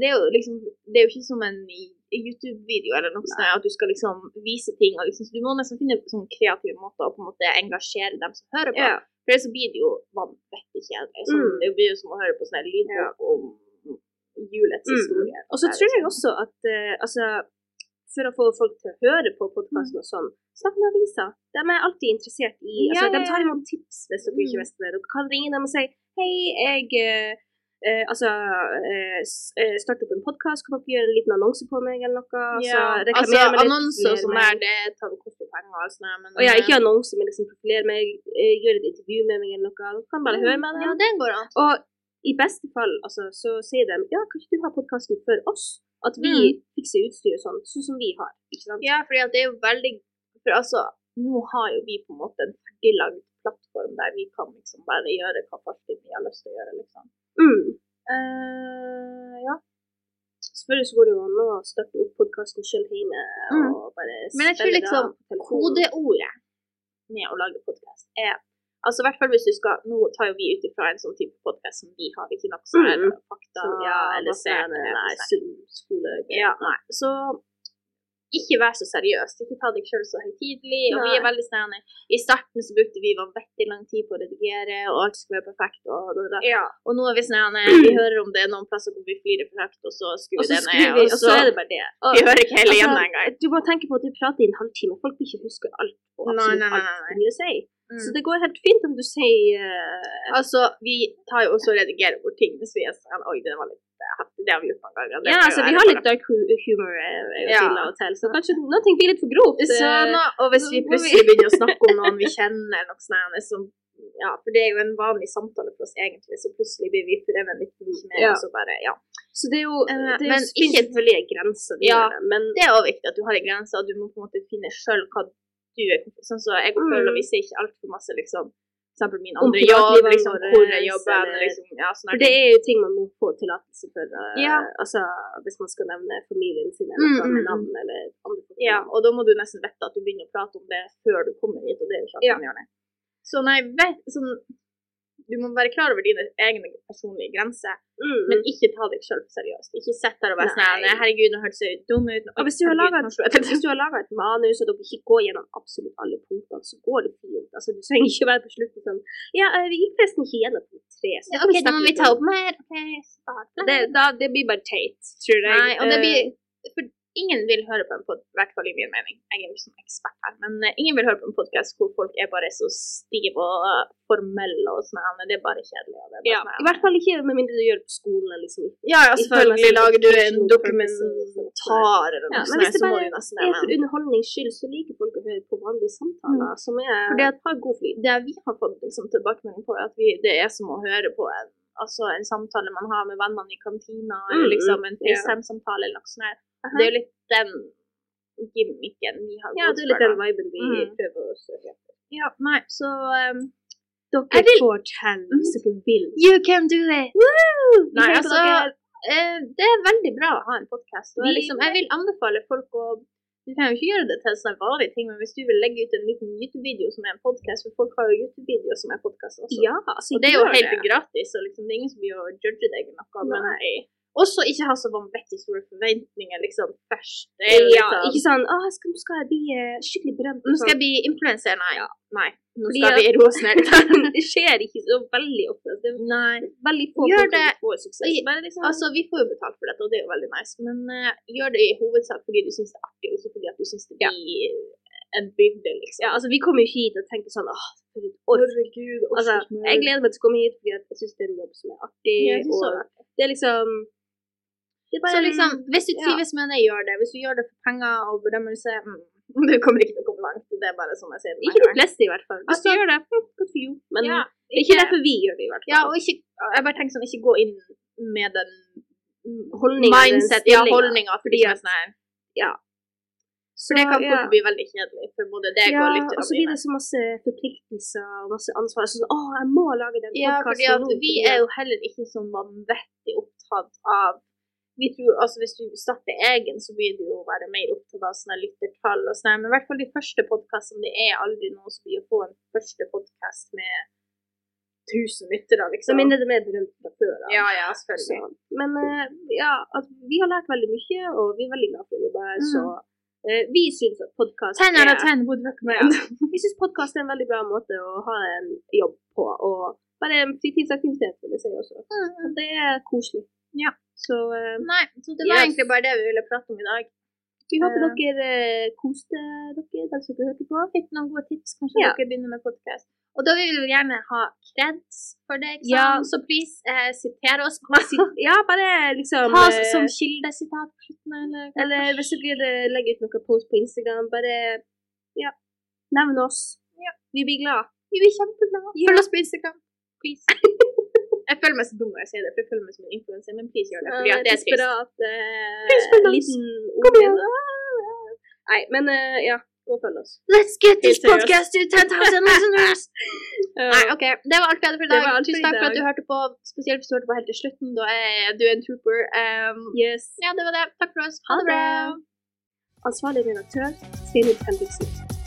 Speaker 2: det er jo liksom Det er jo ikke som en i- i YouTube-video eller noe sånt, at du skal liksom vise ting og liksom Så du må nesten finne sånn kreative måter å på en måte engasjere dem som hører på.
Speaker 1: Ja.
Speaker 2: For ellers så blir det jo vanvittig kjedelig. Sånn,
Speaker 1: Mm.
Speaker 2: Det blir jo som å høre på sånn her lydbok om julets
Speaker 1: Mm.
Speaker 2: historie.
Speaker 1: Og så tror jeg også at eh, altså, for å få folk til å høre på podkasten og sånn, snakk med aviser. De er alltid interessert i altså,
Speaker 2: Mm. Ja, ja,
Speaker 1: De tar imot tips hvis dere
Speaker 2: Mm.
Speaker 1: ikke visste det. Dere kan ringe dem og si Hei, jeg eh, eh, altså, eh, s- eh, starte opp en podkast, kan dere gjøre en liten annonse på meg eller noe? Altså,
Speaker 2: Ja, altså
Speaker 1: reklamere meg litt,
Speaker 2: annonser og
Speaker 1: mer
Speaker 2: sånn
Speaker 1: meg.
Speaker 2: der, det tar jo koster penger og sånn, her, men
Speaker 1: Og ja, ikke annonse, men liksom profilere meg, eh, gjøre et intervju med meg eller noe. Dere kan bare høre med dem.
Speaker 2: Mm. Ja, det går an.
Speaker 1: Og i beste fall altså, så sier de ja, kan ikke du ha podkasten for oss? At vi fikser utstyr og sånn, sånn som vi har. ikke sant?
Speaker 2: Mm. Ja, fordi at det er jo veldig For altså, nå har jo vi på en måte en ferdiglagd plattform der vi kan liksom bare gjøre hva faktisk vi har lyst til å gjøre, liksom.
Speaker 1: Mm.
Speaker 2: Eh, ja.
Speaker 1: Selvfølgelig så går det jo an å starte opp podkasten sjøl hjemme
Speaker 2: Mm.
Speaker 1: og bare
Speaker 2: Men jeg tror
Speaker 1: spille det
Speaker 2: liksom
Speaker 1: av på telefonen.
Speaker 2: Kodeordet med å lage podkast er Altså i hvert fall hvis du skal Nå tar jo vi ut ifra en sånn type podkast som vi har, ikke nok sånn her
Speaker 1: Mm.
Speaker 2: fakta
Speaker 1: Sånn, ja, eller
Speaker 2: basert,
Speaker 1: scene, nei,
Speaker 2: sånn.
Speaker 1: sunn skole
Speaker 2: Ja, nei. Så ikke vær så seriøs. Ikke ta deg sjøl så høytidelig. Og vi
Speaker 1: Nei.
Speaker 2: er veldig sånn I starten så brukte vi vanvittig lang tid på å redigere, og alt skulle være perfekt. Og, da, da.
Speaker 1: Ja.
Speaker 2: og nå er vi sånn Vi hører om det er noen plasser hvor vi flirer for høyt, og så skrur
Speaker 1: Og
Speaker 2: vi
Speaker 1: så
Speaker 2: det ned.
Speaker 1: skriver vi, og så er det bare det. Og,
Speaker 2: Vi hører ikke hele
Speaker 1: Altså,
Speaker 2: gjennom engang.
Speaker 1: du må tenke på at du prater i en halvtime. Folk vil ikke huske alt og
Speaker 2: Nei,
Speaker 1: absolutt
Speaker 2: nei, nei,
Speaker 1: alt
Speaker 2: nei.
Speaker 1: du vil si.
Speaker 2: Mm.
Speaker 1: Så det går helt fint om du sier eh,
Speaker 2: Altså, vi tar jo også og redigerer bort ting hvis vi er sånn Oi, det var litt eh, heftig. Det har vi gjort mange ganger. det
Speaker 1: Ja,
Speaker 2: må jo
Speaker 1: altså, vi
Speaker 2: være
Speaker 1: har
Speaker 2: bra.»
Speaker 1: litt dark hu- humor eh,
Speaker 2: Ja.
Speaker 1: til og til, så kanskje noe blir litt for grovt.
Speaker 2: Så
Speaker 1: eh,
Speaker 2: nå, og hvis vi plutselig begynner å snakke om noen vi kjenner, eller noe sånt, her, som, ja, for det er jo en vanlig samtale for oss egentlig, så plutselig blir vi drevet litt mye mer,
Speaker 1: Ja.
Speaker 2: og så bare, ja.
Speaker 1: Så det er jo
Speaker 2: Eh,
Speaker 1: det men,
Speaker 2: men
Speaker 1: finnes
Speaker 2: ikke-
Speaker 1: selvfølgelig grenser. vi
Speaker 2: Ja.
Speaker 1: gjør det, Men
Speaker 2: Det er også viktig at du har en grense, og du må på en måte finne selv hva du er. Sånn så jeg og
Speaker 1: Mm.
Speaker 2: Paula, vi ser ikke alt for masse, liksom, for eksempel min
Speaker 1: Om
Speaker 2: andre jobb,
Speaker 1: privatlivene
Speaker 2: liksom,
Speaker 1: våre,
Speaker 2: hvor jeg jobber,
Speaker 1: eller-
Speaker 2: liksom, ja, sånn
Speaker 1: for
Speaker 2: her
Speaker 1: det
Speaker 2: ting.
Speaker 1: er jo ting man må få tillatelse for. eh,
Speaker 2: Ja.
Speaker 1: Altså hvis man skal nevne familien sin eller
Speaker 2: Mm,
Speaker 1: ta
Speaker 2: mm,
Speaker 1: med
Speaker 2: mm.
Speaker 1: navn eller andre folk.
Speaker 2: Ja, og da må du nesten vite at du begynner å prate om det før du kommer hit, og det er jo ikke at
Speaker 1: Ja.
Speaker 2: man gjør det. Så nei, vet, sånn, du må være klar over dine egne personlige grenser,
Speaker 1: Mm.
Speaker 2: Men ikke ta deg selv seriøst. Ikke sett der og være
Speaker 1: Nei.
Speaker 2: sånn «Nei, Herregud, nå hørtes jeg dum ut.
Speaker 1: Og hvis du har
Speaker 2: Herregud,
Speaker 1: laget
Speaker 2: nå
Speaker 1: et,
Speaker 2: så jeg-
Speaker 1: hvis du har laget et manus, og dere ikke går gjennom absolutt alle punktene, så går det fint. Altså, du trenger ikke være på slutten sånn Ja, eh, vi gikk forresten ikke gjennom punkt tre. Så
Speaker 2: Ja,
Speaker 1: kan
Speaker 2: ok,
Speaker 1: vi
Speaker 2: da
Speaker 1: snakke
Speaker 2: må
Speaker 1: litt
Speaker 2: vi ta
Speaker 1: om-
Speaker 2: opp mer. Ok, start.
Speaker 1: det, da, det blir bare teit, tror jeg.
Speaker 2: Nei, og det
Speaker 1: Eh,
Speaker 2: blir... For ingen vil høre på en podcast, i hvert fall i min mening. Jeg er jo ikke sånn ekspert her, men eh, ingen vil høre på en podcast hvor folk er bare så stive og eh, formelle og sånn. her, men Det er bare kjedelig. og Det er bare
Speaker 1: ja.
Speaker 2: sånn her.
Speaker 1: I hvert fall ikke med mindre du gjør det på skolen. eller Liksom.
Speaker 2: Ja, ja, selvfølgelig
Speaker 1: I form av
Speaker 2: lager du en
Speaker 1: educational
Speaker 2: dokumentar eller
Speaker 1: Ja,
Speaker 2: noe
Speaker 1: men
Speaker 2: sånt, her,
Speaker 1: hvis det
Speaker 2: så må
Speaker 1: bare
Speaker 2: du nesten
Speaker 1: Det er
Speaker 2: det.
Speaker 1: for underholdnings skyld, så liker folk å høre på vanlige samtaler som er
Speaker 2: Mm. Fordi at har god flyt. Det vi har fått liksom, tilbakemelding på, er at vi, det er som å høre på en, altså, en samtale man har med vennene i kantina, eller
Speaker 1: Mm,
Speaker 2: liksom en
Speaker 1: ja.
Speaker 2: FaceTime-samtale eller noe sånt. her.
Speaker 1: Aha.
Speaker 2: Det er jo litt den gimmicken vi har
Speaker 1: Ja, det
Speaker 2: gått
Speaker 1: er
Speaker 2: for,
Speaker 1: litt den
Speaker 2: da.
Speaker 1: viben vi
Speaker 2: Mm.
Speaker 1: prøver å søke.
Speaker 2: Ja, nei, så um,
Speaker 1: Dere
Speaker 2: Jeg vil- Mhm.
Speaker 1: får til hvis dere vil.
Speaker 2: You can do it!
Speaker 1: Vi
Speaker 2: Nei,
Speaker 1: håper
Speaker 2: altså,
Speaker 1: dere-
Speaker 2: eh, det er veldig bra å ha en podkast.
Speaker 1: Vi-
Speaker 2: Jeg, liksom, jeg vil anbefale folk å Du trenger jo ikke gjøre det til en sånn vanlig ting, men hvis du vil legge ut en liten YouTube-video som er en podkast For folk har jo YouTube-videoer som er podkast også.
Speaker 1: Ja, altså,
Speaker 2: Og det er jo
Speaker 1: gjør
Speaker 2: helt
Speaker 1: det.
Speaker 2: gratis, og liksom, det er ingen som blir å judge deg eller noe. Men
Speaker 1: Nei.
Speaker 2: også ikke ha så vanvittig store forventninger liksom, først. Det er jo
Speaker 1: ja,
Speaker 2: litt
Speaker 1: ikke
Speaker 2: sånn,
Speaker 1: sånn Å, jeg skal, nå skal jeg bli eh, skikkelig berømt.
Speaker 2: nå skal jeg bli influenser. Nei. Nei. Nå
Speaker 1: Fordi
Speaker 2: skal
Speaker 1: at-
Speaker 2: vi roe oss ned litt.
Speaker 1: det skjer ikke så veldig ofte. Altså, Det er
Speaker 2: Nei.
Speaker 1: veldig få
Speaker 2: Gjør
Speaker 1: folk
Speaker 2: det-
Speaker 1: som får suksess.
Speaker 2: Oi,
Speaker 1: Bare liksom,
Speaker 2: Altså, vi får jo betalt for dette, og det er jo veldig nice, men eh, gjør det i hovedsak fordi du syns det er artig, og ikke fordi at du syns det
Speaker 1: Ja.
Speaker 2: blir en bygde, liksom.
Speaker 1: ja, altså, vi kommer jo hit og tenker sånn Åh, for et ork.
Speaker 2: Herregud,
Speaker 1: Altså, jeg gleder meg til å komme hit fordi at jeg syns det er en jobb som er artig.
Speaker 2: Ja, jeg synes
Speaker 1: og
Speaker 2: det er
Speaker 1: det er liksom det er bare
Speaker 2: Så
Speaker 1: en-
Speaker 2: liksom, hvis du
Speaker 1: ja.
Speaker 2: trives med det, gjør det. Hvis du gjør det for penger og berømmelse, mm, du kommer ikke til å komme langt. Det er bare sånn jeg sier det.
Speaker 1: Ikke de fleste, i hvert fall. Hvis
Speaker 2: Altså,
Speaker 1: du gjør det, hm, godt for you. Men
Speaker 2: ja,
Speaker 1: det er ikke derfor vi gjør det, i hvert fall.
Speaker 2: Ja, og ikke, jeg bare tenker sånn, ikke gå inn med den
Speaker 1: Holdningen, den
Speaker 2: mindset, ja,
Speaker 1: stillingen.
Speaker 2: holdninga, fordi at nei,
Speaker 1: Så,
Speaker 2: sånn for det kan
Speaker 1: ja.
Speaker 2: fort bli veldig kjedelig for både deg
Speaker 1: ja,
Speaker 2: og lytterne
Speaker 1: og så blir det så masse forpliktelser og masse ansvar. Sånn, å, jeg må lage den
Speaker 2: Ja, fordi
Speaker 1: podcasten
Speaker 2: at
Speaker 1: nå,
Speaker 2: vi
Speaker 1: fordi
Speaker 2: er jo heller ikke så vanvittig opptatt av vi tror, altså Hvis du starter egen, så vil du jo være mer opptatt av sånne lyttertall. og sånne, Men i hvert fall de første podkastene. Det er aldri noe som blir å få en første podkast med 1000 lyttere,
Speaker 1: Så
Speaker 2: liksom.
Speaker 1: mindre det er mer berømt fra før. da.
Speaker 2: Ja, ja,
Speaker 1: Så,
Speaker 2: selvfølgelig.
Speaker 1: men eh, ja, altså, vi har lært veldig mye, og vi er veldig glad for å jobbe her, så
Speaker 2: Mm.
Speaker 1: eh, vi syns at podkast
Speaker 2: Ten out of ten would recommend.
Speaker 1: Vi synes podcast er en veldig bra måte å ha en jobb på, og bare en fritidsaktivitet, vil jeg si også. Og det er koselig.
Speaker 2: Mm. Ja.
Speaker 1: Så eh,
Speaker 2: Nei, så det var
Speaker 1: Yes.
Speaker 2: egentlig bare det vi ville prate om i dag.
Speaker 1: vi håper
Speaker 2: Eh.
Speaker 1: dere eh, koste dere, den som hørte på.
Speaker 2: Fikk noen gode tips, kanskje
Speaker 1: Ja.
Speaker 2: dere begynner med podcast. Og da vil vi jo gjerne ha kreds for det, ikke
Speaker 1: Ja.
Speaker 2: sant? Så please, eh, sitere oss på masse.
Speaker 1: Ja, bare liksom
Speaker 2: Ta oss
Speaker 1: eh,
Speaker 2: som kildesitat på slutten, eh, eller
Speaker 1: Eller hvis dere eh, legger ut noen post på Instagram, bare ja, nevn oss.
Speaker 2: Ja.
Speaker 1: Vi blir glad.
Speaker 2: Vi blir kjempeglade.
Speaker 1: Ja.
Speaker 2: Følg oss på Instagram. Please. jeg føler meg så dum når jeg sier det, for jeg føler meg som en influenser, men please gjør det, fordi at det er trist.
Speaker 1: Eh, Desperat eh,
Speaker 2: Please følg oss.
Speaker 1: liten
Speaker 2: Kom igjen.
Speaker 1: ungen. Nei, men eh, ja, gå og følg oss.
Speaker 2: Let's get
Speaker 1: this podcast
Speaker 2: to 10,000 listeners! Nei,
Speaker 1: Eh,
Speaker 2: OK. Det var alt vi hadde for i
Speaker 1: Det var
Speaker 2: dag.
Speaker 1: alt for
Speaker 2: Tusen
Speaker 1: i
Speaker 2: takk for at
Speaker 1: dag.
Speaker 2: du hørte på, spesielt hvis du hørte på helt til slutten. Da er du en trooper. Um,
Speaker 1: yes.
Speaker 2: ja, det var det. Takk for oss.
Speaker 1: Ha
Speaker 2: Ha det bra.
Speaker 1: det. Ansvarlig redaktør, Sveinung Henriksen.